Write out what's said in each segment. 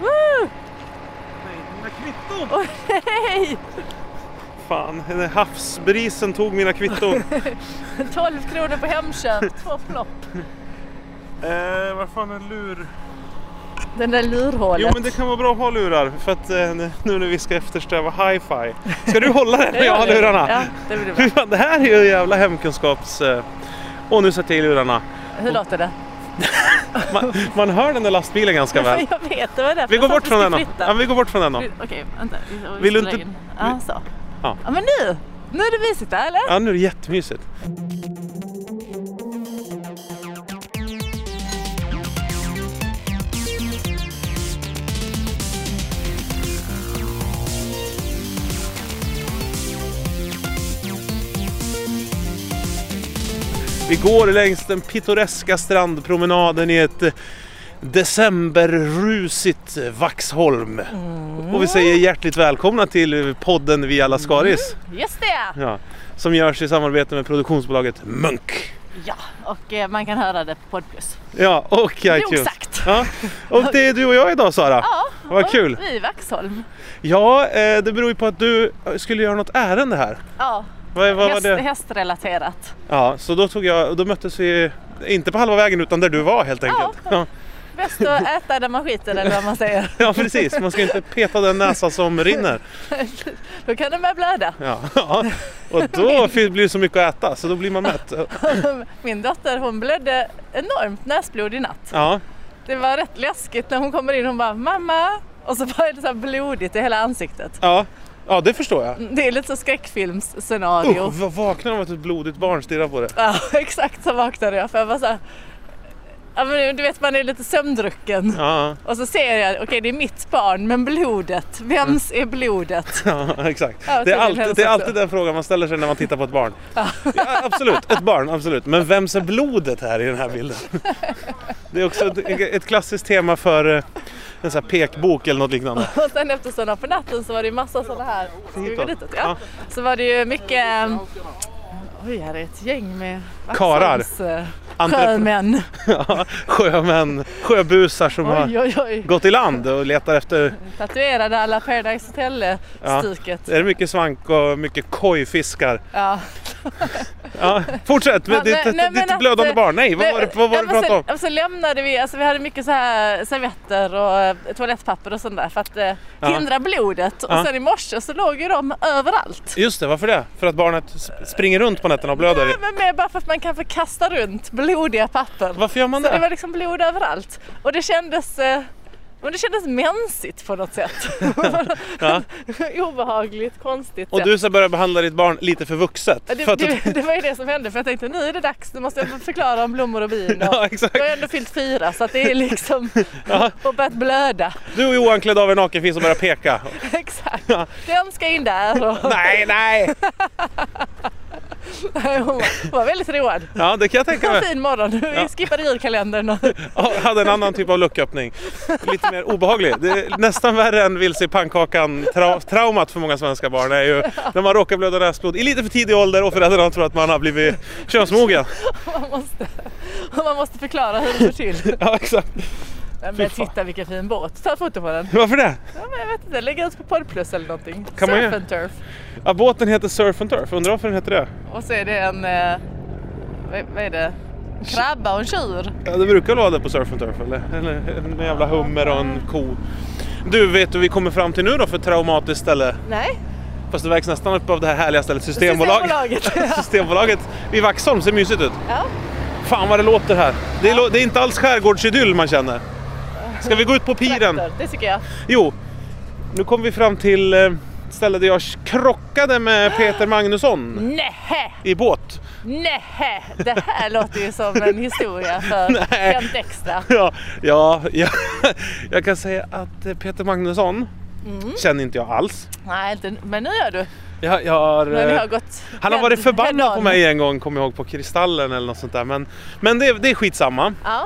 Woo! Nej, mina kvitton! Åh, hej! Fan, den där havsbrisen tog mina kvitton. 12 kronor på Hemköp, två plopp. eh, vad fan är en lur? Den där lurhålet. Jo men det kan vara bra att ha lurar för att eh, nu när vi ska eftersträva hi-fi. Ska du hålla den när jag har lurarna? Ja, det blir bra. Fy fan, det här är ju jävla hemkunskaps... eh, Åh nu sätter jag i lurarna. Hur låter det? Man, man hör den där lastbilen ganska väl. Jag vet, det var därför Vi går jag sa bort att från skulle den då. flytta. Ja, vi går bort från den då. Vi- Okej, vänta. Vi- vi Vill du spelar inte- in. Ja, så. Ja. Ja, men nu! Nu är det mysigt där, eller? Ja nu är det jättemysigt. Vi går längs den pittoreska strandpromenaden i ett eh, decemberrusigt eh, Vaxholm. Och vi säger hjärtligt välkomna till eh, podden Via Lascaris. Just det! Ja, som görs i samarbete med produktionsbolaget Munk. Ja, och eh, man kan höra det på Podplus. Ja, och iTunes. Nog sagt! Ja, och det är du och jag idag Sara. Ja, Vad och kul. Vi i Vaxholm. Ja, eh, det beror ju på att du skulle göra något ärende här. Ja, Vad, vad var häst, det? hästrelaterat. Ja, så då tog jag, då möttes vi inte på halva vägen utan där du var helt enkelt. Ja, Bäst att äta där man skiter eller vad man säger. ja precis. Man ska inte peta den näsa som rinner. Då kan den börja blöda. Ja, ja. och då blir det så mycket att äta så då blir man mätt. Min dotter hon blödde enormt näsblod i natt. Ja, Det var rätt läskigt när hon kommer in hon bara mamma och så var det så här blodigt i hela ansiktet. ja, ja det förstår jag. Det är lite så skräckfilmsscenario. Usch, vad vaknar de av att ett blodigt barn stirrar på det. Ja, exakt så vaknade jag för jag var så här, ja, men du vet man är lite sömndrucken. Ja, Och så ser jag, okej det är mitt barn men blodet, vems Mm. är blodet? Ja, exakt. Ja, det, är tydligen alltid, helst det är också. alltid den frågan man ställer sig när man tittar på ett barn. Ja, absolut, ett barn, absolut. Men vems är blodet här i den här bilden? Det är också ett, ett klassiskt tema för eh, en sån här pekbok eller något liknande. Och sen efter sådana på natten så var det ju massa sådana här, ska vi gå ditåt? Ja. Ja. Så var det ju mycket, ehm, oj här är ett gäng med Karar. Vaxholms, eh, Entrep- Sjömän. Ja, Sjömän, sjöbusar som Oj har oj oj. gått i land och letar efter... Tatuerade alla Paradise Hotel-stuket. Är det mycket svank och mycket kojfiskar? Ja. Ja, fortsätt med Men- ditt, nej, men ditt att- eh, blödande barn. Nej, vad Men- var det, vad var ja, det du men pratade om? sen, om? Så lämnade vi, alltså vi hade mycket så här servetter och eh, toalettpapper och sånt där för att eh, Ja. hindra blodet. Ja. Och sen i morse så låg ju de överallt. Just det, varför det? För att barnet sp- springer runt på nätterna och blöder? Nej, men mer bara för att man kan få kasta runt blodiga papper. Varför gör man Så det det? var liksom blod överallt. Och det kändes eh, men det kändes mänskligt på något sätt. Ja. Obehagligt, konstigt. Och sätt. du ska börja behandla ditt barn lite för vuxet. Ja, Det, för att du... det, det var ju det som hände för jag tänkte nu är det dags, nu måste jag förklara om blommor och bin. Och Ja, jag har exakt. ju ändå fyllt fyra så att det är liksom Ja. och börjat blöda. Du och Johan klädde av er nakenfis och började peka. Exakt. Ja. Den ska in där. Och, nej, nej! hon var väldigt road. Ja, det kan jag tänka En mig. fin morgon. Vi Ja. skippade julkalendern. Och, Ja, hade en annan typ av lucköppning. Lite mer obehaglig. Det är nästan värre än vilse i pannkakan. Tra- traumat för många svenska barn är ju när man råkar blöda näsblod i lite för tidig ålder och föräldrarna tror att man har blivit könsmogen. man, måste, och man måste förklara hur det går till. Ja, exakt. Nej, Fy Men fan. titta vilken fin båt. Ta foto på den. Varför det? Ja, men jag vet inte, lägg ut på Porrplus eller någonting. Kan man Surf göra? and turf. Ja, båten heter Surf and Turf. Undrar varför den heter det? Och så är det en, eh, vad, vad är det? En krabba och en tjur. Ja, det brukar väl vara det på Surf and Turf eller? eller en jävla hummer och en ko. Du, vet du vi kommer fram till nu då för traumatiskt ställe? Nej, Fast det vägs nästan upp av det här härliga stället Systembolaget. Systembolaget, ja. Systembolaget i Vaxholm ser mysigt ut. ja. Fan vad det låter här. Det är, lo- det är inte alls skärgårdsidyll man känner. Ska vi gå ut på piren? Traktor, Det tycker jag. Jo, nu kommer vi fram till eh, stället där jag krockade med Peter Magnusson Nähä, i båt. nähä. Det här låter ju som en historia för Nej. Kent Extra. Ja, ja, ja, jag kan säga att eh, Peter Magnusson Mm. känner inte jag alls. Nej, inte, men nu gör du. Jag, jag har, Men vi eh, har gått han har head- varit head on. förbannad på mig en gång, kommer jag ihåg, på Kristallen eller något sånt där. Men, men det, det är skitsamma. Ja,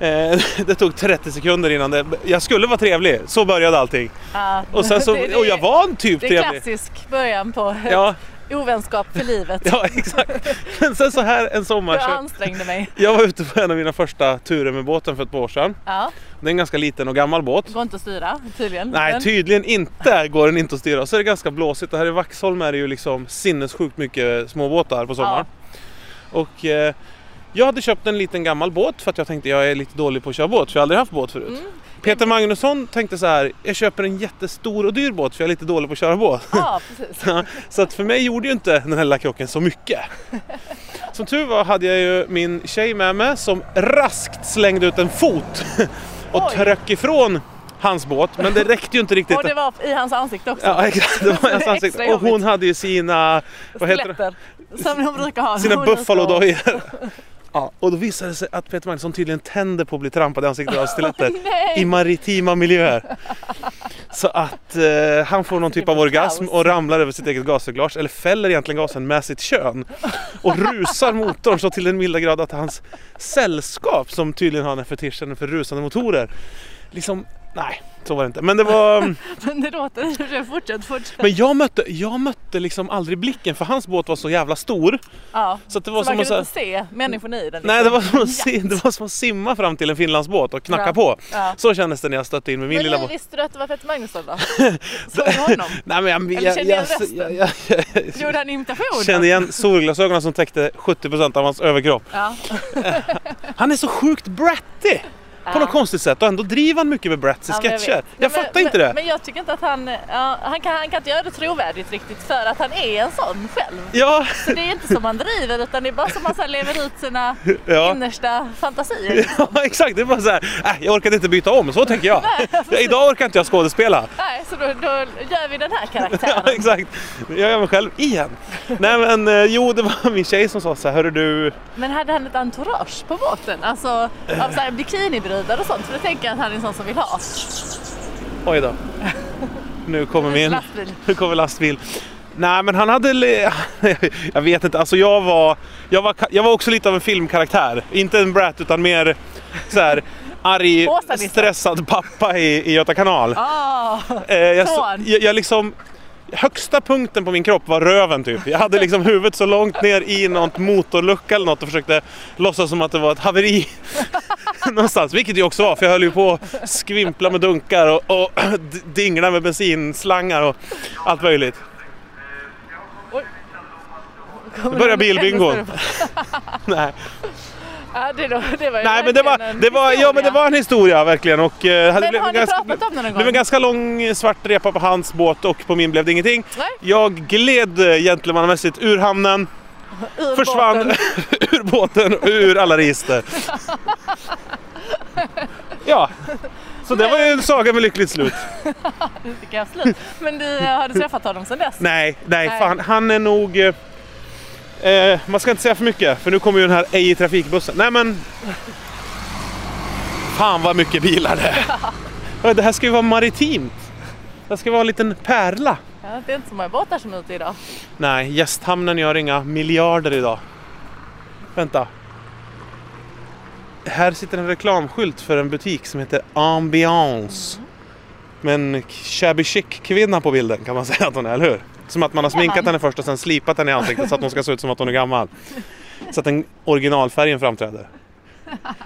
Eh, det tog 30 sekunder innan det... Jag skulle vara trevlig, så började allting. ja. Och, sen så, Det- det- och jag var en typ Det är trevlig. klassisk början på Ja, Ovänskap för livet. Ja, exakt. Men sen så här en sommar Jag så... ansträngde mig. Jag var ute på en av mina första turer med båten för ett par år sedan. Ja, Det är en ganska liten och gammal båt. går inte att styra tydligen. Nej, Men- tydligen inte går den inte att styra. Så är det ganska blåsigt och här i Vaxholm är det ju liksom sinnessjukt mycket småbåtar på sommaren. Och eh, jag hade köpt en liten gammal båt för att jag tänkte jag är lite dålig på att köra båt för jag har aldrig haft båt förut. Mm. Peter Magnusson tänkte så här, jag köper en jättestor och dyr båt för jag är lite dålig på att köra båt. Ja, precis. Så att för mig gjorde ju inte den här lilla krocken så mycket. Som tur var hade jag ju min tjej med mig som raskt slängde ut en fot och Oj. tryckte ifrån hans båt. Men det räckte ju inte riktigt. Och det var i hans ansikte också. Ja exakt, det var hans Extra ansikte. Och jobbigt. hon hade ju sina, vad heter det? Stiletter. Som de brukar ha. sina buffalodojor. Ja, och då visade det sig att Peter Magnusson tydligen tänder på att bli trampad i ansiktet av stiletter i Nej! maritima miljöer. Så att eh, han får någon typ av blir orgasm kaos. och ramlar över sitt eget gasreglage, eller fäller egentligen gasen med sitt kön. Och rusar motorn så till den milda grad att hans sällskap, som tydligen har den här fetischen för rusande motorer, liksom, nej, så var det inte. Men det var... mm, Men det låter... Fortsätt, fortsätt. Men jag mötte, jag mötte liksom aldrig blicken för hans båt var så jävla stor. Ja. Så att det var Så man som kunde att så här, inte se människan i den. Nej, det liksom. var, som att, si- det var som att simma fram till en finlandsbåt och knacka Ja. på. Ja. Så kändes det när jag stötte in med min Men lilla hur båt. visste du att det var Petter Magnusson då? Såg du honom? Nej, men jag, Eller jag, kände jag, igen jag, resten? jag, jag, Gjorde han imitation? kände igen solglasögonen som täckte 70% av hans överkropp. Ja. Han är så sjukt bratty! På Ja. något konstigt sätt och ändå driver han mycket med brats i Ja, men sketcher. Jag, vet. Nej, men- fattar inte men, det. Men jag tycker inte att han... Ja, han, kan, han kan inte göra det trovärdigt riktigt för att han är en sån själv. Ja, Så det är inte som man driver utan det är bara som man så här lever ut sina ja. innersta fantasier. ja, exakt. Det är bara så här, äh, jag orkade inte byta om, så tänker jag. Ja, Idag orkar inte jag skådespela. Nej, så då, då gör vi den här Ja, karaktären. exakt. Jag gör mig själv igen. Nej men eh, jo, det var min tjej som sa så här, hörru du, Men hade han ett entourage på båten? Alltså av så här bikinibrudar och sånt? För det tänker jag att han är en sån som vill ha. Oj då. Nu kommer min. Lastbil. Nu kommer lastbil. Nej men han hade... le- Jag vet inte, alltså jag var... Jag var, jag var också lite av en filmkaraktär. Inte en brat utan mer så här arg, Åsa-Nisse. stressad pappa i, i Göta kanal. Ah, Eh, jag, så- son. jag, jag liksom... Högsta punkten på min kropp var röven typ. Jag hade liksom huvudet så långt ner i något motorlucka eller något och försökte låtsas som att det var ett haveri. Någonstans, vilket det ju också var för jag höll ju på att skvimpla med dunkar och, och d- dingla med bensinslangar och allt möjligt. Nu börjar bilbingon. Nej, Ja, det, då, det var ju Nej men det var, verkligen det en var, ja, men det historia. var en historia verkligen. Och, eh, det Men blev har en ni ganska- pratat om det någon Det blev en gång? ganska lång eh, svart repa på hans båt och på min blev det ingenting. Nej. Jag gled eh, gentlemannamässigt ur hamnen, Ur försvann båten. ur båten och ur alla register. ja, så det var ju en saga med lyckligt slut. Nu fick jag slut. Men du, eh, har du träffat honom sedan dess? Nej, nej, Nej. fan. Han är nog... eh, Eh, man ska inte säga för mycket, för nu kommer ju den här ej i trafikbussen. Nej men... Fan vad mycket bilar det är. Hörru, Det här ska ju vara maritimt. Det här ska vara en liten pärla. Ja, det är inte så många båtar som är ute idag. Nej, gästhamnen gör inga miljarder idag. Vänta. Här sitter en reklamskylt för en butik som heter Ambiance. Med en k- shabby chic kvinna på bilden kan man säga att hon är, eller hur? Som att man har sminkat henne först och sen slipat henne i ansiktet så att hon ska se ut som att hon är gammal. Så att den originalfärgen framträder.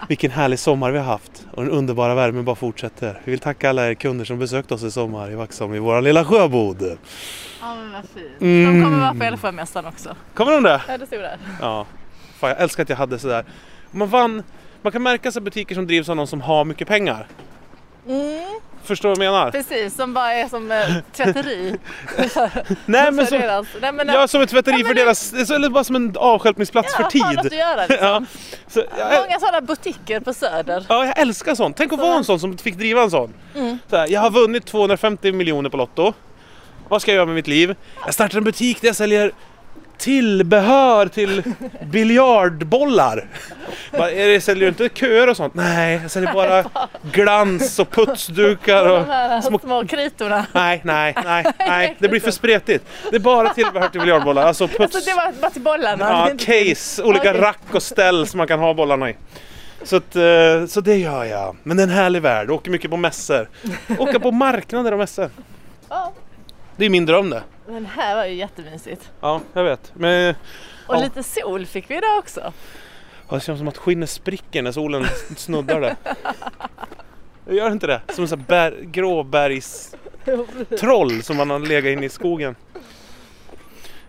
Vilken härlig sommar vi har haft och den underbara värmen bara fortsätter. Vi vill tacka alla er kunder som besökt oss i sommar i Vaxholm i vår lilla sjöbod. Ja men vad fint. Mm. De kommer vara på Älvsjömässan också. Kommer de det? Ja det stod där. Ja. Fan, jag älskar att jag hade sådär. Man vann. Man kan märka sig butiker som drivs av någon som har mycket pengar. Mm, Förstår du vad jag menar? precis, som bara är som eh, tvätteri. Nej men för som, deras. Nej, men, eh, jag är som ett tvätteri för deras, eller bara som en avstjälpningsplats för Har något att tid. göra, liksom. Ja, så jag, Många sådana butiker på Söder. ja, jag älskar sånt. Tänk att vara en sån som fick driva en sån. Mm. Såhär, jag har vunnit 250 miljoner på Lotto. Vad ska jag göra med mitt liv? Jag startar en butik där jag säljer tillbehör till biljardbollar. Bara, är det, säljer du inte köer och sånt? Nej, jag säljer bara glans och putsdukar och... De här små, kritorna. Nej, nej, nej, nej, det blir för spretigt. Det är bara tillbehör till biljardbollar, alltså puts... Så det var bara till bollarna. Ja, Inte till- Ah, case, olika Okej. rack och ställ som man kan ha bollarna i. Så, att, eh, så det gör jag. Men det är en härlig värld, åker mycket på mässor. Åka på marknader och mässor. Ja. Det är min dröm det. Den här var ju jättemysigt. Ja, jag vet. Men eh, Och Ja. lite sol fick vi idag också. ja, det känns som att skinnet spricker när solen snuddar det. Det Gör inte det? Som en sån här bär, gråbergstroll som man har legat inne i skogen.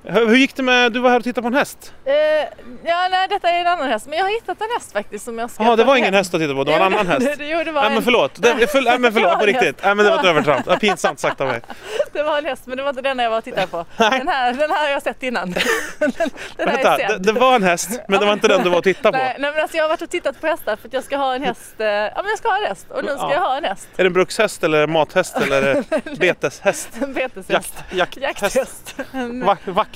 Hur hur gick det med, du var här och tittade på en häst? Eh, ja, nej, detta är en annan häst. Men jag har hittat en häst faktiskt som jag ska Jaha, det ta var ingen hem. häst att titta på, det var en Jo, annan häst. Det, jo, det, var Nej en, men förlåt, det, för, nej, men förlåt på riktigt. Nej men det var ett övertramp, Ja, pinsamt sagt av mig. det var en häst men det var inte den jag var och tittade på. Den här, den här har jag sett innan. Den, den här Vänta, är det, sedd. det var en häst men det var inte den du var och tittade på. Nej, nej men alltså jag har varit och tittat på hästar för att jag ska ha en häst. Eh, ja men jag ska ha en häst och nu ska Ja. jag ha en häst. Är det en brukshäst eller mathäst eller beteshäst? En beteshäst. Jakt, jakt, häst. Jakthäst. En, Va, vakthäst?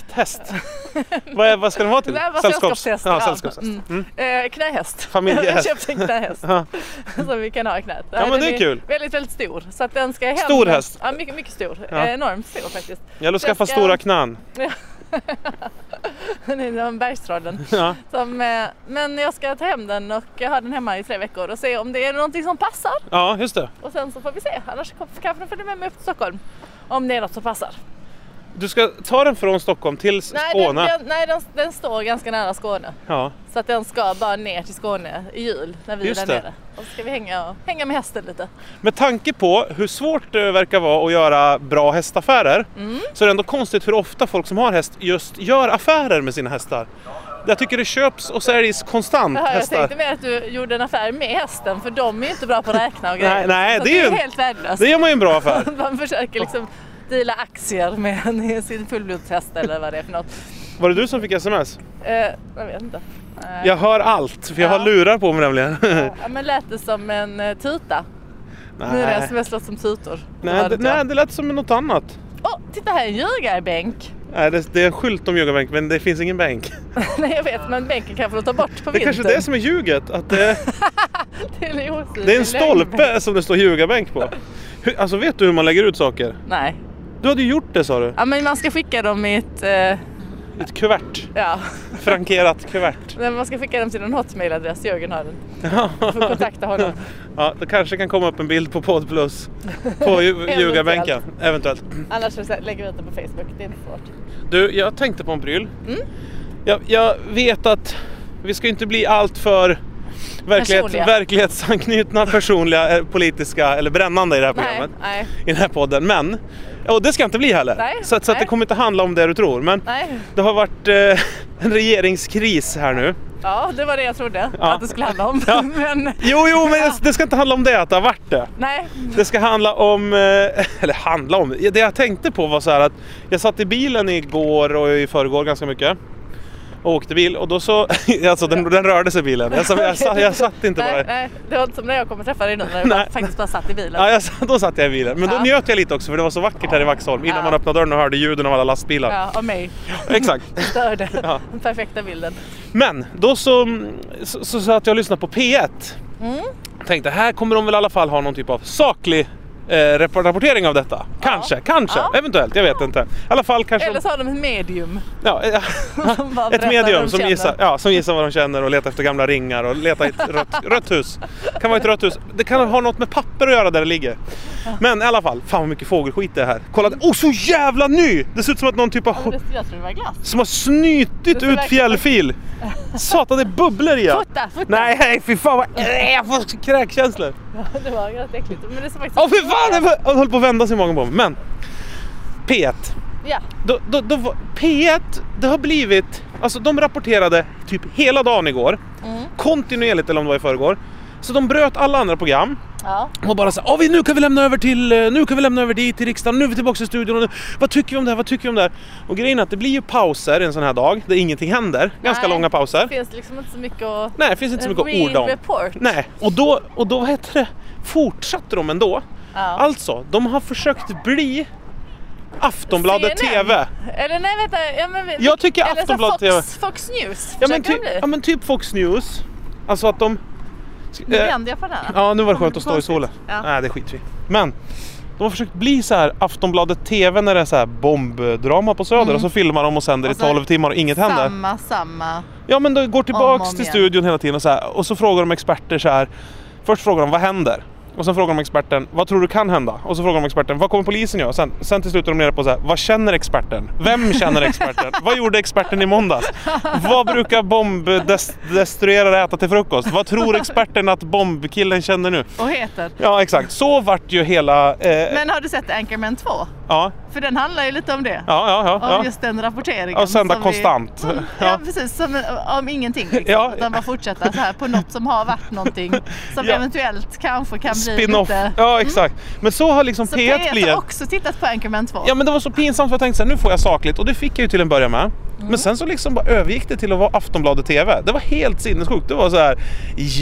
vad, är, vad ska den vara till? Nej, vad sällskapshäst, Ja, ja. sällskapshäst. Mm. eh, knähäst. Jag Familjehäst. köpte en knähäst Ja. som vi kan ha i knät. Ja, men Den det är kul. Väldigt, väldigt stor. Så att den ska hem. Stor häst? Ja, mycket, mycket stor. Ja. Eh, enormt stor faktiskt. Jag vill skaffa ska- stora knän. Den är som bergstraden. Ja. Som, eh, men jag ska ta hem den och ha den hemma i tre veckor och se om det är någonting som passar. ja, just det. Och sen så får vi se. Annars kom- kanske den följer med mig upp till Stockholm. Om det är något som passar. Du ska ta den från Stockholm till Nej, den, Skåne. den, nej den, den står ganska nära Skåne. Ja. Så att den ska bara ner till Skåne i jul när vi Just är där det. nere. Och så ska vi hänga, och, hänga med hästen lite. Med tanke på hur svårt det verkar vara att göra bra hästaffärer Mm. så är det ändå konstigt hur ofta folk som har häst just gör affärer med sina hästar. Jag tycker det köps och säljs konstant Jaha, jag hästar. tänkte mer att du gjorde en affär med hästen för de är ju inte bra på att räkna och grejer. Nej, nej, så det är ju- helt värdelöst. Det gör man ju en bra affär. Man försöker liksom deala aktier med en- sin fullblodshäst eller vad det är för något. Var det du som fick sms? Eh, jag vet inte. Eh, Jag hör allt, för jag Ja. har lurar på mig nämligen. ja, men lät det som en eh, tuta? Nu är det nej. sms låter som tutor. Nej, Åh, det, nej, det lät som något annat. oh, titta här är en ljugarbänk! Nej, det, det är en skylt om ljugarbänk, men det finns ingen bänk. nej jag vet men bänken kan få ta bort på Det är vintern. kanske är det som är ljuget, att det, Till osynlig det är en lögnbänk. stolpe som det står ljugarbänk på. Hur, alltså vet du hur man lägger ut saker? Nej. Du hade ju gjort det sa du, Ja men man ska skicka dem i ett... Eh, ett kuvert. ja. Frankerat kuvert. Nej, Man ska skicka dem till en hotmailadress, Jörgen har den. Du får kontakta honom. Ja, det kanske kan komma upp en bild på Podd Plus på ju- ljugarbänken. Eventuellt. Annars så lägger vi ut det på Facebook, det är inte svårt. Du, jag tänkte på en pryl. Mm. Jag, jag vet att vi ska inte bli allt för verklighet, Personliga. verklighetsanknutna, personliga, eh, politiska eller brännande i det här Nej, programmet. nej, I den här podden. Men, och det ska jag inte bli heller. Nej, så att, så att det nej. kommer inte handla om det du tror. Men nej. det har varit eh, en regeringskris här nu. Ja, det var det jag trodde Ja. att det skulle handla om. Ja. Men Jo, jo, men det- det ska inte handla om det, att det har varit det. nej, Det ska handla om, eh, eller handla om, det jag tänkte på var så här att jag satt i bilen igår och i förrgår ganska mycket och åkte bil och då så, alltså den, den rörde sig bilen. Jag, sa- jag, sa- jag satt inte nej, bara. nej. Det var inte som när jag kommer träffa dig nu när du Nej. bara, faktiskt bara satt i bilen. Ja, jag, sa- då satt jag i bilen. Men då Ja. njöt jag lite också för det var så vackert här i Vaxholm innan Ja. man öppnade dörren och hörde ljuden av alla lastbilar. Ja, och mig. Exakt. Störde. Ja. Den perfekta bilden. Men då så, så, så satt jag och lyssnade på P1. Mm. Tänkte här kommer de väl i alla fall ha någon typ av saklig eh, rappor- rapportering av detta. Kanske, kanske, Ja. eventuellt, jag vet inte. I alla fall kanske... Eller så har de ett medium. Ja, ja. Som bara Ett berättar vad medium de som känner. gissar, ja, som gissar vad de känner och letar efter gamla ringar och letar i ett rött, rött hus. kan vara ett rött hus. Det kan ha något med papper att göra där det ligger. Men i alla fall, fan vad mycket fågelskit det är här. Kolla, oh så jävla ny! Det ser ut som att någon typ Men har, det- Jag tror det var glass. som har snytit ser ut verkligen- fjällfil. Satan, det är bubblor i den. Fota, fota! Nej, nej, fy fan vad... Äh, Jag får kräkkänslor. Det var ganska äckligt. Men det ser faktiskt... Åh fy fan, jag höll- jag höll på att vända sig i magen på mig. Men, P1. Ja, då, då, då, var- P1, det har blivit... Alltså de rapporterade typ hela dagen igår. Mm. Kontinuerligt, eller om det var i förrgår. Så de bröt alla andra program ja. och bara så här, "Ja, vi nu kan vi lämna över till, eh, nu kan vi lämna över dit till riksdagen, nu är vi tillbaka i studion och nu, vad tycker vi om det här, vad tycker vi om det här? Och grejen är att det blir ju pauser en sån här dag där ingenting händer, ganska Nej. långa pauser. Det finns liksom inte så mycket att... Nej, det finns inte så mycket ord om. Report. Nej, och då, och då vad heter det, fortsatte de ändå. Ja. Alltså, de har försökt bli Aftonbladet CNN. TV. Eller nej vänta, ja, men, vi- Jag tycker eller så Aftonbladet TV. Fox, Fox News, Ja försöker men, ty, de bli? ja men typ Fox News. Alltså att de... Nu Eh, vände jag på den här. ja nu var det skönt det att stå i konstigt? solen. Ja. Nej det skiter vi i. Men de har försökt bli så här Aftonbladet TV när det är så här bombdrama på Söder och så filmar de och sänder i Mm. Och så 12 timmar och inget händer. Samma, samma. Ja men de går Om tillbaks och om till igen. studion hela tiden och så här och så frågar de experter så här. Först frågar de vad händer? Och sen frågar de experten, vad tror du kan hända? Och så frågar de experten, vad kommer polisen göra? Sen, sen till slut är de nere på så här, vad känner experten? Vem känner experten? vad gjorde experten i måndags? Vad brukar bombdestruerare äta till frukost? Vad tror experten att bombkillen känner nu? Och heter. Ja, exakt. Så vart ju hela... Eh, Men har du sett Anchorman 2? ja, För den handlar ju lite om det. ja, ja. Om ja, ja. just den rapporteringen. Och sända som vi- konstant. Ja, Ja. precis, som, om ingenting. Liksom. Ja. Utan bara fortsätta så här på något som har varit någonting. Som Ja. eventuellt kanske kan bli Spin-off. lite... Mm. Ja, exakt. Men så har liksom Så P1 P1 blivit. har också tittat på Anchorman 2. Ja men det var så pinsamt för jag tänkte så här, nu får jag sakligt och det fick jag ju till en början med. Mm. Men sen så liksom bara övergick det till att vara Aftonbladet TV. Det var helt sinnessjukt. Det var så här,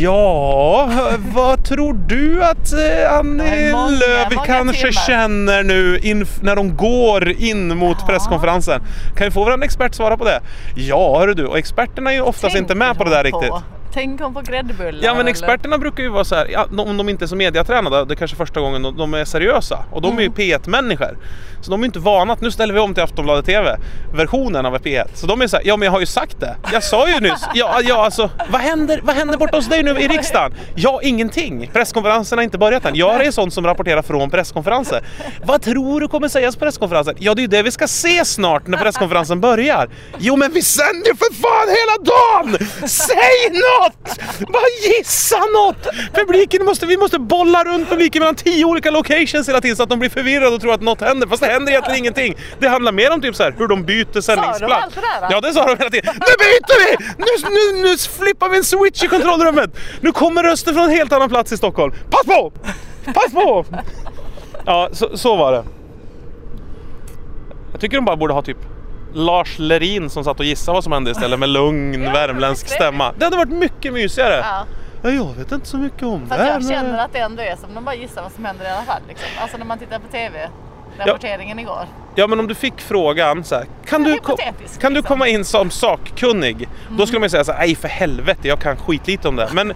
ja, vad tror du att eh, Det Annie är många, Lööf många kanske timmar. känner nu inf- när de går in mot presskonferensen? Kan vi få vår expert svara på det? Ja, hörru du, och experterna är ju oftast Tänker inte med på det där hon riktigt. Tänk om på gräddbullar. Ja men eller- experterna brukar ju vara så här, ja, de- om de inte är så mediatränade, det är kanske första gången de, de är seriösa. Och de är ju P1-människor. Så de är ju inte vana att nu ställer vi om till Aftonbladet TV-versionen av P1. Så de är så här, ja men jag har ju sagt det. Jag sa ju nyss, ja, ja alltså, vad händer, vad händer borta hos dig nu i riksdagen? Ja, ingenting. Presskonferensen har inte börjat än. Jag är sån som rapporterar från presskonferenser. Vad tror du kommer sägas på presskonferensen? Ja, det är ju det vi ska se snart när presskonferensen börjar. Jo, men vi sänder ju för fan hela dagen! Säg något! Bara gissa något! Publiken måste, vi måste bolla runt publiken mellan tio olika locations hela tiden så att de blir förvirrade och tror att något händer. Fast det händer egentligen ingenting. Det handlar mer om typ så här, hur de byter sändningsplats. allt det där, va? Ja, det sa de hela tiden. Nu byter vi! Nu, nu, nu flippar vi en switch i kontrollrummet! Nu kommer röster från en helt annan plats i Stockholm. Pass på! Pass på! Ja, så, så var det. Jag tycker de bara borde ha typ Lars Lerin som satt och gissade vad som hände istället med lugn värmländsk trevligt. stämma. Det hade varit mycket mysigare. Ja. Ja. jag vet inte så mycket om För det att här, jag men- känner att det ändå är som de bara gissar vad som händer i alla fall. Liksom. Alltså när man tittar på TV. Rapporteringen igår. Ja men om du fick frågan så här, kan, du, ko- Hypotetisk, kan du liksom. komma in som sakkunnig? Då skulle man ju säga så här, nej för helvete jag kan skitlite om det. Men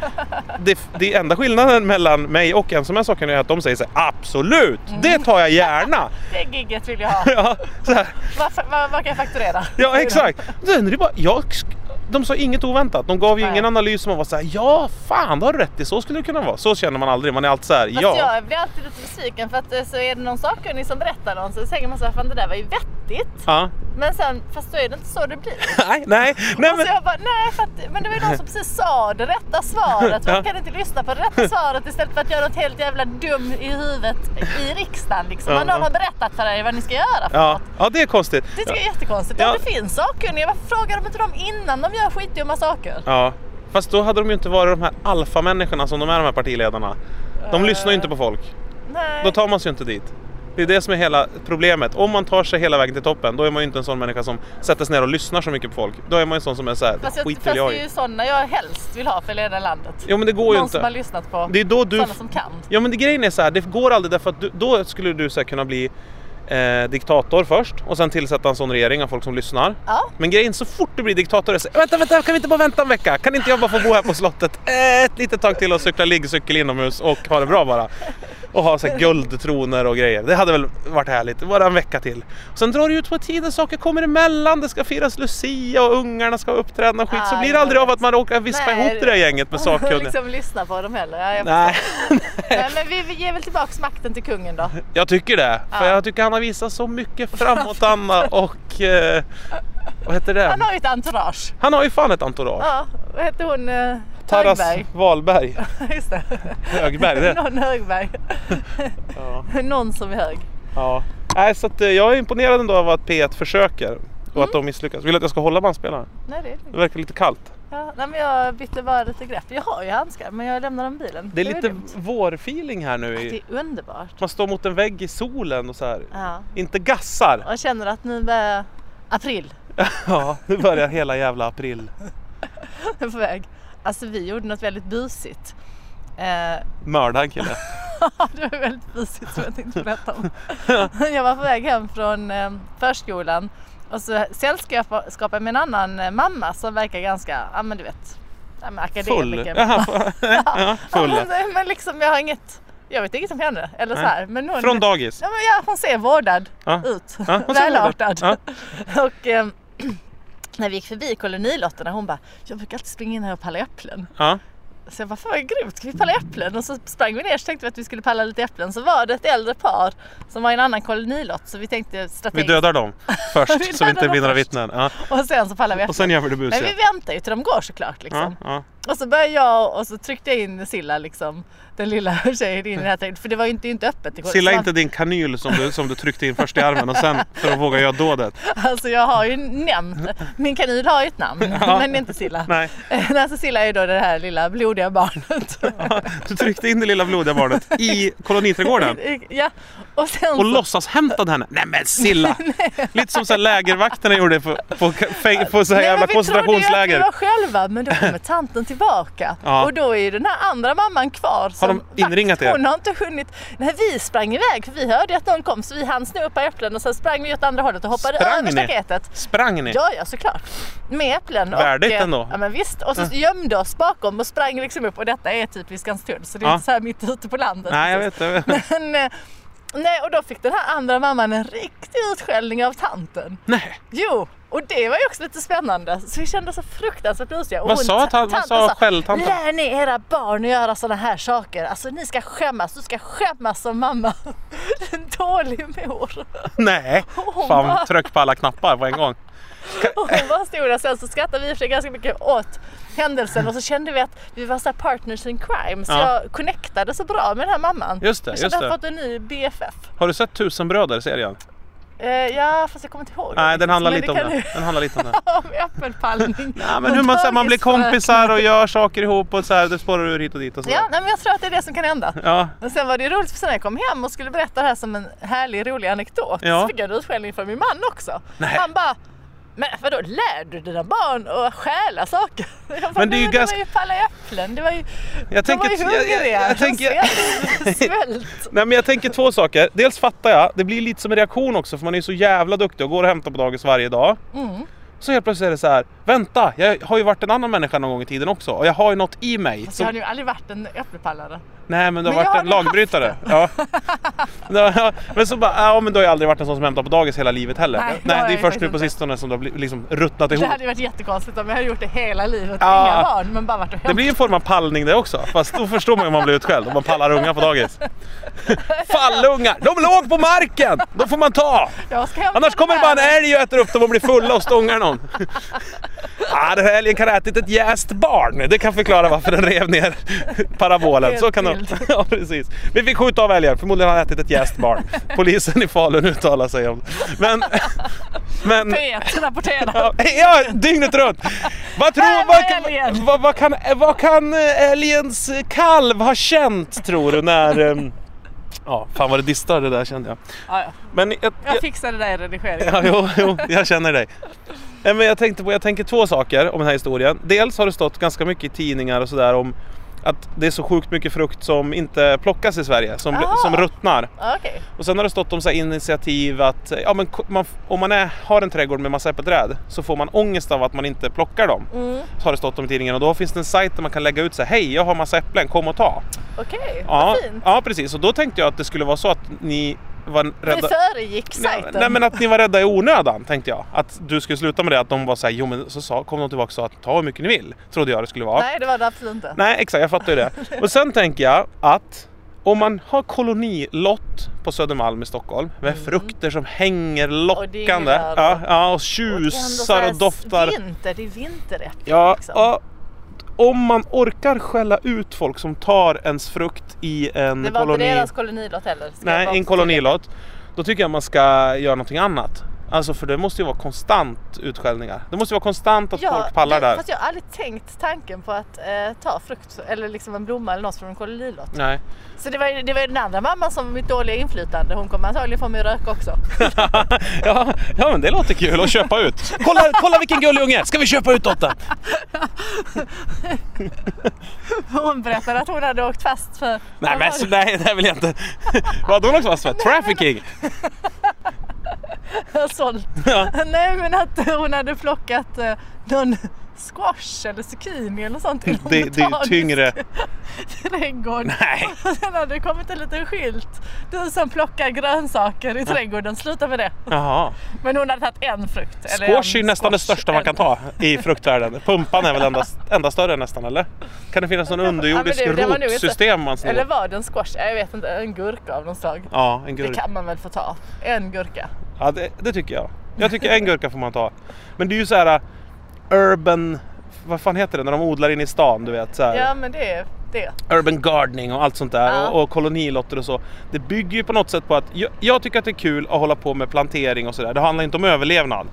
det, det enda skillnaden mellan mig och en som är sakkunnig är att de säger så här, absolut, det tar jag gärna. Det gigget vill jag ha. ja, så här, Vad vad- vad kan jag fakturera? ja exakt. Sen är det bara, jag, sk- de sa inget oväntat, de gav ju Nej. ingen analys som man var så här, ja fan det har du rätt i, så skulle det kunna vara. Så känner man aldrig, man är alltid så här, Fast ja. jag blir alltid lite besviken för att eh, så är det någon sakkunnig som berättar någon så tänker man så här, fan det där var ju vettigt. ja. Men sen, fast då är det inte så det blir. Nej, nej, nej och men så jag bara, nej för att, men det var ju någon som precis sa det rätta svaret. Ja. Man kan inte lyssna på det rätta svaret istället för att göra något helt jävla dum i huvudet i riksdagen liksom. Ja, Men någon ja. har berättat för er vad ni ska göra för ja. något. ja det är konstigt. Det tycker jag är jättekonstigt. Ja. Om det finns sakkunniga, varför frågar de inte dem innan de gör skitdumma saker? Ja, fast då hade de ju inte varit de här alfamänniskorna som de är de här partiledarna. Eh. De lyssnar ju inte på folk. Nej. Då tar man sig ju inte dit. Det är det som är hela problemet. Om man tar sig hela vägen till toppen, då är man ju inte en sån människa som sätter sig ner och lyssnar så mycket på folk. Då är man ju en sån som är såhär, Fast, det jag, skiter fast väl det jag är i. ju sådana jag helst vill ha för att leda landet. Jo men det går ju Någon som har inte. lyssnat på Det är då du... sådana som kan. Ja men det grejen är så här, det går aldrig därför att du, då skulle du så här, kunna bli eh, diktator först och sen tillsätta en sån regering av folk som lyssnar. Ja. Men grejen så fort du blir diktator är så vänta, vänta, kan vi inte bara vänta en vecka? Kan inte jag bara få bo här på slottet eh, ett litet tag till och cykla liggcykel inomhus och ha det bra bara? Och ha så här guldtroner och grejer. Det hade väl varit härligt, bara en vecka till. Sen drar det ut på tiden, saker kommer emellan, det ska firas Lucia och ungarna ska uppträda och skit. Så Ah, blir det det aldrig var av att man råkar vispa Nej. ihop det där gänget med sakkunniga. liksom lyssna på dem heller. Ja, jag Nej, Nej, men vi, vi ger väl tillbaks makten till kungen då. jag tycker det. För Ja. jag tycker han har visat så mycket framåtanda och... Eh, vad heter det? Han har ju ett entourage. Han har ju fan ett entourage. Ja, vad hette hon? eh, Taras Högberg. Wahlberg. Just det. Högberg. Det. Någon Högberg. Ja. Någon som är hög. Ja. Nej, så att, eh, jag är imponerad ändå av att P1 försöker och Mm. att de misslyckas. Vill du att jag ska hålla bandspelaren? Nej, det är Det lugnt. verkar lite kallt. ja, nej, men jag bytte bara lite grepp. Jag har ju handskar men jag lämnar dem i bilen. Det är var lite dumt. vårfeeling här nu. Det I, är underbart. man står mot en vägg i solen och så här. Ja. Inte gassar. Och jag känner att nu börjar april Ja, nu börjar hela jävla april. på väg. Alltså vi gjorde något väldigt busigt. Eh, Mörda en kille. det var väldigt busigt som jag tänkte berätta om. Jag var på väg hem från eh, förskolan och så sällskapade jag med en annan eh, mamma som verkar ganska, ja men du vet, ja, men Full. akademiker. Jaha, ja, full. Ja, men, men liksom jag har inget, jag vet inget om henne. Eller så Nej. här, men hon, Från dagis. ja, men ja, hon ser vårdad Ja. ut. Ja, hon ser vårdad. Välartad. Ja. Och eh, när vi gick förbi kolonilotterna hon bara, jag brukar alltid springa in här och palla äpplen. Ja. Så jag bara, fan vad grymt, ska vi palla äpplen? Och så sprang vi ner så tänkte vi att vi skulle palla lite äpplen. Så var det ett äldre par som var i en annan kolonilott så vi tänkte Vi strategiskt. dödar dem först så vi inte dödar blir några dem först. vittnen. Ja. Och sen så pallade vi äpplen. Och sen gör vi det Men busiga. vi väntar ju till de går såklart liksom. Ja, ja. Och så började jag och så tryckte jag in Silla liksom, den lilla tjejen in i den här trädgården. För det var ju inte, inte öppet. i gården. Silla Så inte din kanyl som du, som du tryckte in först i armen och sen för att våga göra dådet. Alltså jag har ju nämnt, min kanin har ju ett namn Ja. men inte Silla. Nej, Eh, Alltså Silla är ju då det här lilla blodiga barnet. du tryckte in det lilla blodiga barnet i koloniträdgården ja. Och sen och så- låtsas hämtade henne. Nej men Silla! Lite som så här lägervakterna gjorde på, på, fäng- på så här Nej, men vi trodde jävla ju att vi koncentrationsläger. var själva men då kommer tanten tillbaka Ja. och då är ju den här andra mamman kvar. som de inringat vakt. er? Hon har inte hunnit. Nej, vi sprang iväg för vi hörde att någon kom så vi hann sno upp äpplen och sen sprang vi åt andra hållet och hoppade Sprang över ni? staketet. Sprang ni? Ja, ja såklart. Med äpplen. Värdigt och, eh, ändå. Ja men visst. Och så gömde oss bakom och sprang liksom upp och detta är typ vid Skanstull så det är Ja. inte så här mitt ute på landet. Nej jag precis. vet. Jag vet. Men, eh, nej och då fick den här andra mamman en riktig utskällning av tanten. Nej. Jo, och det var ju också lite spännande. Så vi kände oss så fruktansvärt lustiga. Och Vad hon- sa tan- vad tanten sa skälltanten? Lär ni era barn att göra sådana här saker. Alltså ni ska skämmas, du ska skämmas som mamma. En dålig mor. Nej. Hon Fan bara- tryck på alla knappar på en gång. Och hon var stor och sen så skrattade vi i och för sig ganska mycket åt händelsen och så kände vi att vi var så här partners in crime. Så Ja. jag connectade så bra med den här mamman. Just det, jag just kände att jag det. fått en ny BFF. Har du sett Tusenbröder-serien? Eh, ja, fast jag kommer inte ihåg. Nej, den handlar Men lite om kan det. Den handlar lite om det. du- Om äppelpallning. Ja, men och hur man, så här, man blir dagisfröken. kompisar och gör saker ihop och så här, det spårar ur hit och dit och så. Ja, där. nej, men jag tror att det är det som kan hända. ja. Men sen var det ju roligt för sen när jag kom hem och skulle berätta det här som en härlig rolig anekdot Ja. så fick jag en utskällning från min man också. Nej. Han bara men vadå, lär du dina barn att stjäla saker? Jag bara, Men det är ju "Nej, ganska- var ju palla i äpplen, det var ju... Jag de var tänker ju att- jag- jag- hungriga, jag De tänker- svälter- svält. Nej men jag tänker två saker. Dels fattar jag, det blir lite som en reaktion också för man är ju så jävla duktig och går och hämtar på dagis varje dag. Mm. Så helt plötsligt är det så här, vänta, jag har ju varit en annan människa någon gång i tiden också och jag har ju något i mig. Fast som- jag har ju aldrig varit en äppelpallare. Nej men du har Men jag varit en har aldrig lagbrytare. Ja. Ja, men så bara, ja men du har jag aldrig varit en sån som hämtar på dagis hela livet heller. Nej, Nej, det har det är jag först nu faktiskt på inte. sistone som du har bli- liksom ruttnat Det ihop. hade ju varit jättekonstigt om jag hade gjort det hela livet. Ja. Inga barn, men bara varit och Det blir en form av pallning det också, fast då förstår man ju om man blir utskälld om man pallar unga på dagis. Fallungar, de låg på marken! De får man ta! Jag ska hämta Annars kommer det den bara här. en älg och äter upp dem och blir fulla och stångar någon. Ah, den här älgen kan ha ätit ett jäst barn. Det kan förklara varför den rev ner parabolen. Så kan de... Ja, precis. Vi fick skjuta av älgen, förmodligen har han ätit ett jäst barn. Polisen i Falun uttalar sig om Men... men Peter rapporterar. Ja, ja, dygnet runt! Vad, tror, Här var vad, älgen. vad, vad, kan, vad kan eh, älgens kalv ha känt tror du när... ehm, Ja, fan vad det distar det där kände jag. Ja, ja. Men jag, Jag fixade det där i redigeringen. Ja, jo, jo, jag känner dig. Nej, men jag, tänkte på, jag tänker två saker om den här historien. Dels har det stått ganska mycket i tidningar och sådär om att det är så sjukt mycket frukt som inte plockas i Sverige, som, bli- Aha. som ruttnar. Ja. Okej. Och sen har det stått om så här initiativ att ja, men, ko- man, om man är, har en trädgård med massa äppelträd så får man ångest av att man inte plockar dem. Mm. Så har det stått om i tidningen och då finns det en sajt där man kan lägga ut så här, hej jag har massa äpplen, kom och ta. Okej, Ja, vad fint. ja precis och då tänkte jag att det skulle vara så att ni var Vi rädda... föregick Nej, sajten. nej men att ni var rädda i onödan tänkte jag. Att du skulle sluta med det, att de var såhär, jo men så sa, kom de tillbaka och sa att ta hur mycket ni vill. Trodde jag det skulle vara. Nej, det var det absolut inte. Nej, exakt, jag fattar ju det. Och sen tänker jag att om man har kolonilott på Södermalm i Stockholm med Mm. frukter som hänger lockande. där, ja, va? ja, och Det är ändå så tjusar här och doftar. Vinter, det är vinteräpplen Ja, liksom. ja, om man orkar skälla ut folk som tar ens frukt i en det var koloni. inte deras kolonilott heller. ska jag Nej, bara en kolonilott. Då tycker jag man ska göra någonting annat. Alltså för det måste ju vara konstant utskällningar. Det måste ju vara konstant att Ja, folk pallar det- där. Fast jag har aldrig tänkt tanken på att eh, ta frukt eller liksom en blomma eller något från en kolonilott. Nej. Så det var, ju- det var ju den andra mamman som var mitt dåliga inflytande. Hon kommer antagligen få mig att röka också. ja, ja men det låter kul att köpa ut. Kolla, kolla vilken gullig unge! Ska vi köpa ut dottern? Hon berättade att hon hade åkt fast för... Nej men så, nej, det här vill jag inte. Vad hade hon också varit för? alltså, Trafficking? sålt. Ja. Nej men att hon hade plockat eh, någon squash eller zucchini eller sånt i någon Det, det är ju botanisk tyngre. trädgård. Nej. Och sen hade det kommit en liten skylt. Du som plockar grönsaker i trädgården, sluta med det. Jaha. Men hon hade tagit en frukt. eller Squash en är nästan det squash. största man kan ta i fruktvärlden. Pumpan är väl enda, enda större nästan eller? Kan det finnas någon underjordisk Ja, men det- det var nog inte- rotsystem man snor? Eller var det en squash? Jag vet inte, en gurka av något slag. Ja, en Det gurka. kan man väl få ta? En gurka. Ja, det, det tycker jag. Jag tycker en gurka får man ta. Men det är ju så här uh, urban, vad fan heter det när de odlar in i stan du vet? Så här, Ja men det är det. Urban gardening och allt sånt där Ja. och, och kolonilotter och så. Det bygger ju på något sätt på att jag, jag tycker att det är kul att hålla på med plantering och sådär. Det handlar inte om överlevnad.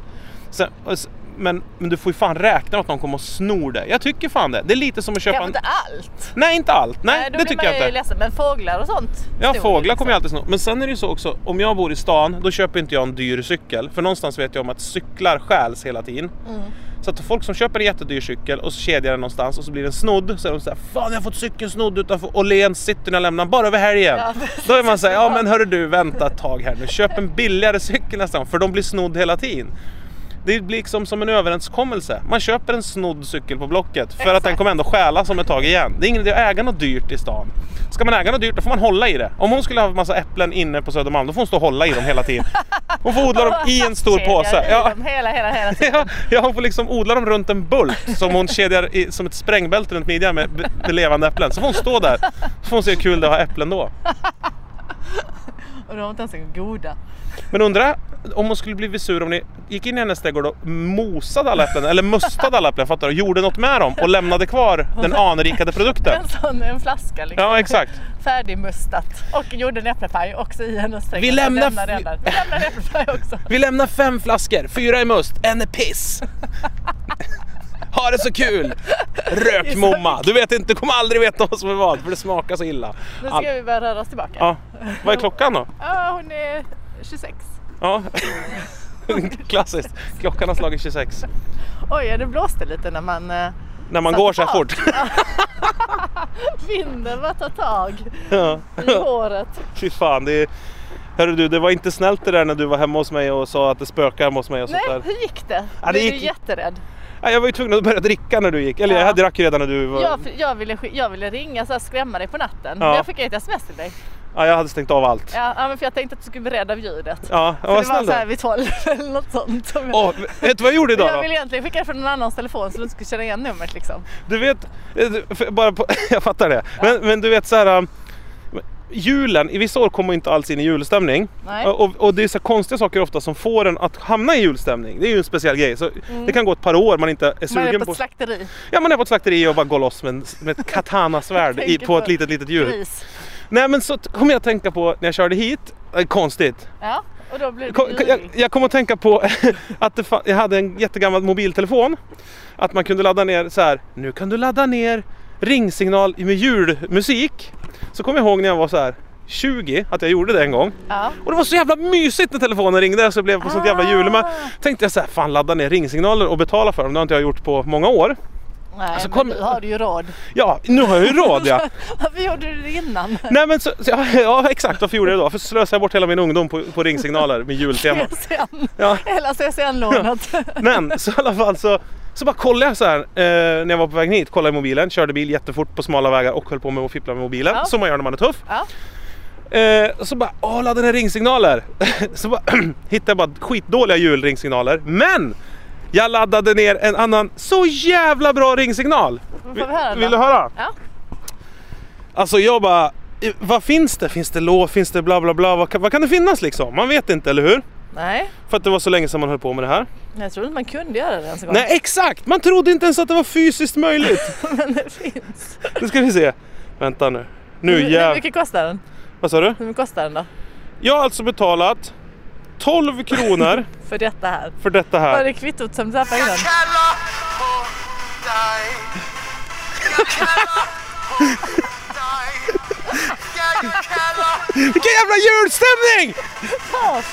Sen, och s- men, men du får ju fan räkna med att någon kommer och snor det. Jag tycker fan det. Det är lite som att köpa Kanske en... inte allt. Nej, inte allt. Nej, Nej, då det blir tycker man jag ju inte. ledsen. Men fåglar och sånt. Ja, snor fåglar liksom. kommer jag alltid sno. Men sen är det ju så också, om jag bor i stan, då köper inte jag en dyr cykel. För någonstans vet jag om att cyklar stjäls hela tiden. Mm. Så att folk som köper en jättedyr cykel och så kedjar den någonstans och så blir den snodd, så är de såhär Fan jag har fått cykeln snodd utanför Åhléns city när jag lämnade den bara över helgen. Ja, precis. då är man såhär, ja men hörru du vänta ett tag här nu, köp en billigare cykel nästa gång för de blir snodd hela tiden. Det blir liksom som en överenskommelse. Man köper en snodd cykel på Blocket för att den Exakt. kommer ändå stjälas om ett tag igen. Det är ingen idé att äga något dyrt i stan. Ska man äga något dyrt då får man hålla i det. Om hon skulle ha en massa äpplen inne på Södermalm då får hon stå och hålla i dem hela tiden. Hon får odla dem i en stor Kedjar påse. i Ja. dem Hela, hela, hela tiden. Ja, ja, hon får liksom odla dem runt en bult som hon kedjar i, som ett sprängbälte runt midjan med, med levande äpplen. Så får hon stå där. Så får hon se hur kul det är att ha äpplen då. Och de var inte ens en goda. Men undra om hon skulle bli sur om ni gick in i hennes trädgård och mosade alla äpplen eller mustade alla äpplen, fattar du? Gjorde något med dem och lämnade kvar den anrikade produkten. En sån, en flaska liksom. Ja, exakt. Färdigmustat. Och gjorde en äppelpaj också i hennes trädgård. Vi lämnar- Jag lämnar den där. Vi lämnar en äppelpaj också. Vi lämnar fem flaskor, fyra är must, en är piss. Ha det så kul! Rökmomma! Du vet inte, du kommer aldrig veta vad som är vad för det smakar så illa. Nu ska All- vi börja röra oss tillbaka. Ja. Vad är klockan då? Ja, hon är 26. Ja. Klassiskt. Klockan har slagit 26. Oj, ja, det blåste lite när man... Eh, När man Satte går så här fart. fort. vinden bara tar tag Ja. i håret. Fy fan. Det är... Hörru du, det var inte snällt det där när du var hemma hos mig och sa att det spökar hemma hos mig och sånt Nej, där. hur gick det? Ja, det Blev gick- du jätterädd? Nej, Jag var ju tvungen att börja dricka när du gick. Eller Ja. jag drack ju redan när du var... Jag, jag, ville, sk- jag ville ringa så här, skrämma dig på natten. Ja. Men jag fick ett sms till dig. Ja, jag hade stängt av allt. Ja, ja, men för jag tänkte att du skulle bli rädd av ljudet. Ja, Så vad det var snäll så du här är. vid 12 eller något sånt. som jag- Åh, vet du vad jag gjorde idag jag då? vill egentligen skicka det från någon annans telefon så du inte skulle känna igen numret liksom. Du vet, eh, du- för- bara på, jag fattar det. Men, men du vet så här. um, Julen, i vissa år kommer man inte alls in i julstämning. Nej. Och, och det är så här konstiga saker ofta som får en att hamna i julstämning. Det är ju en speciell grej. Så Det kan gå ett par år man inte är Mm. Man är sugen på på... ett slakteri. Ja, man är på ett slakteri och bara går loss med, en- med ett katanasvärd i, Tänker på ett på litet, litet djur. Gris. Nej, men så t- kom jag att tänka på när jag körde hit. Eh, Konstigt. Ja, och då blir Kom, det jag, lurig. jag kom att tänka på att det fa- jag hade en jättegammal mobiltelefon. Att man kunde ladda ner så här. Nu kan du ladda ner ringsignal med julmusik. Så kom jag ihåg när jag var så här 20 att jag gjorde det en gång. Ja. Och det var så jävla mysigt när telefonen ringde så jag blev på sånt jävla Ah. jul. Men tänkte jag så här, fan ladda ner ringsignaler och betala för dem. Det har inte jag gjort på många år. Nej, Alltså, men kom- du har du ju råd. Ja, nu har jag ju råd ja. Varför gjorde du det innan? Nej men så, så, ja, ja exakt, varför gjorde jag det då? Varför slösade jag bort hela min ungdom på, på ringsignaler med jultema? CSN. Ja. Hela CSN-lånet. Men så i alla fall så, så bara kollade jag så här eh, när jag var på väg hit, kollade i mobilen, körde bil jättefort på smala vägar och höll på med att fippla med mobilen Ja. som man gör när man är tuff. Ja. Eh, så bara, åh ladda ner ringsignaler. så bara, hittade jag bara skitdåliga julringsignaler. Men! Jag laddade ner en annan så jävla bra ringsignal. vi höra den Vill då? du höra? Ja. Alltså jag bara, i- vad finns det? Finns det låt? Finns det bla bla bla? Vad kan, vad kan det finnas liksom? Man vet inte, eller hur? Nej, För att det var så länge sedan man höll på med det här. jag tror inte man kunde göra det ens en gång. Nej, exakt! Man trodde inte ens att det var fysiskt möjligt. Men det finns. Nu ska vi se. Vänta nu. Nu Hur- Hur jäv... mycket kostar den? Vad sa du? Hur mycket kostar den då? Jag har alltså betalat 12 kronor För detta här. för detta Var här. det kvittot som tappade innan? kalla på dig. Jag kallar på dig. Jag kallar, Vilken jävla julstämning!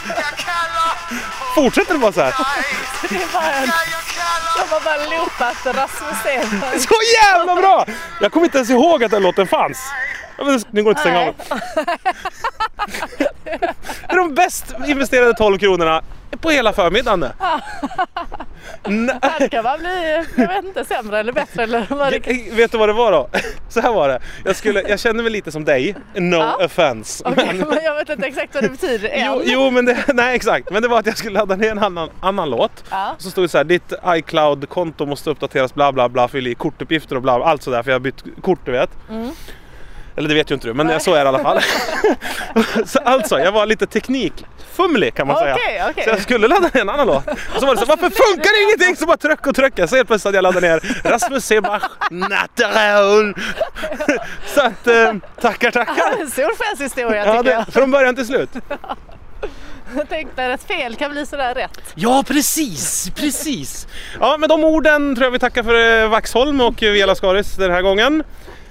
jag kallar Fortsätter det bara så här? dig. Det är bara en... Jag kallar De har bara loopat Rasmus Stenberg. Så jävla bra! Jag kommer inte ens ihåg att den låten fanns. Ja, men Nu går det inte att stänga av. Det är de bäst investerade 12 kronorna på hela förmiddagen. det. Nej. Här kan man bli, jag vet inte, sämre eller bättre eller vad det kan Jag- Eh, Vet du vad det var då? Så här var det. Jag, skulle, jag kände mig lite som dig, no Ja. offense. Okej, men jag vet inte exakt vad det betyder än. Jo, jo men det, nej exakt. Men det var att jag skulle ladda ner en annan, annan låt. Ja. Så stod det så här, ditt iCloud-konto måste uppdateras bla bla bla, fyll i kortuppgifter och bla bla, allt sådär för jag har bytt kort du vet. Eller det vet ju inte du, men Mm. Nej. så är det i alla fall. så alltså, jag var lite teknikfumlig kan man säga. Okej, okej. Så jag skulle ladda ner en annan låt. Och så var det så, varför funkar det ingenting? Så bara tryck och tryck. Så helt plötsligt hade jag laddat ner Rasmus Sebach, Natteron. så att, eh, tackar Det tackar. är en stor festhistoria Ja, tycker det, från början till slut. jag. Jag tänkte att ett fel kan bli sådär rätt. Ja, precis, precis. Ja, med de orden tror jag vi tackar för eh, Vaxholm och eh, Vela Skaris den här gången.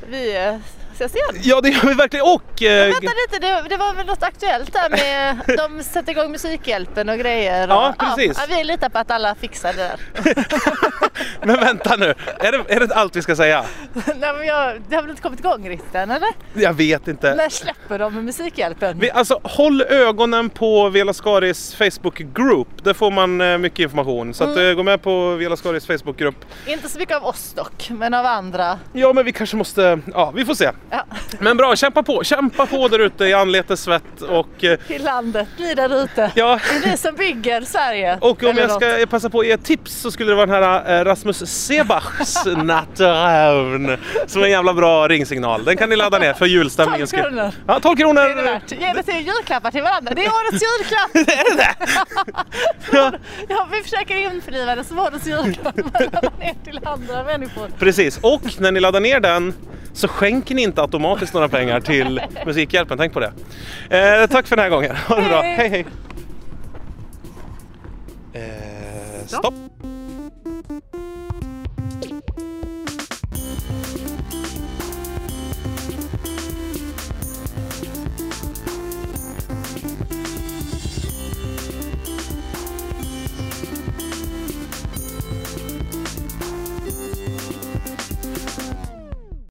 Vi eh, ses igen. Ja, det gör vi verkligen. Och... eh, Vänta lite, det, det var väl något aktuellt där med de sätter igång Musikhjälpen och grejer. Och, Ja, precis. Ja, vi litar på att alla fixar det där. men vänta nu, är det, är det allt vi ska säga? Nej, men jag, det har väl inte kommit igång riktigt än eller? Jag vet inte. När släpper de med Musikhjälpen? Eh. Vi, alltså, håll ögonen på Vela Skaris Facebook-grupp. Där får man eh, mycket information. Så att, eh, gå med på Vela Skaris Facebook-grupp. Inte så mycket av oss dock, men av andra. Ja, men vi kanske måste... Ja, vi får se. Ja, Men bra, kämpa på. Kämpa på där ute i anletes svett och... eh, till landet, ni där ute. Ja. Det är ni som bygger Sverige. Och om Eller jag något. ska passa på att ge ett tips så skulle det vara den här eh, Rasmus Sebachs Natterövn som är en jävla bra ringsignal. Den kan ni ladda ner för julstämningens 12 kronor. Ja, 12 Det är det kronor! värt. Ge det till julklappar till varandra. Det är årets julklapp! Ja, Ja, vi försöker införliva det som årets julklapp mellan er till andra människor. precis, och när ni laddar ner den så skänker ni inte automatiskt några pengar till Musikhjälpen, tänk på det. Eh, tack för den här gången, ha det bra, Hej. hej hej! Eh, stopp!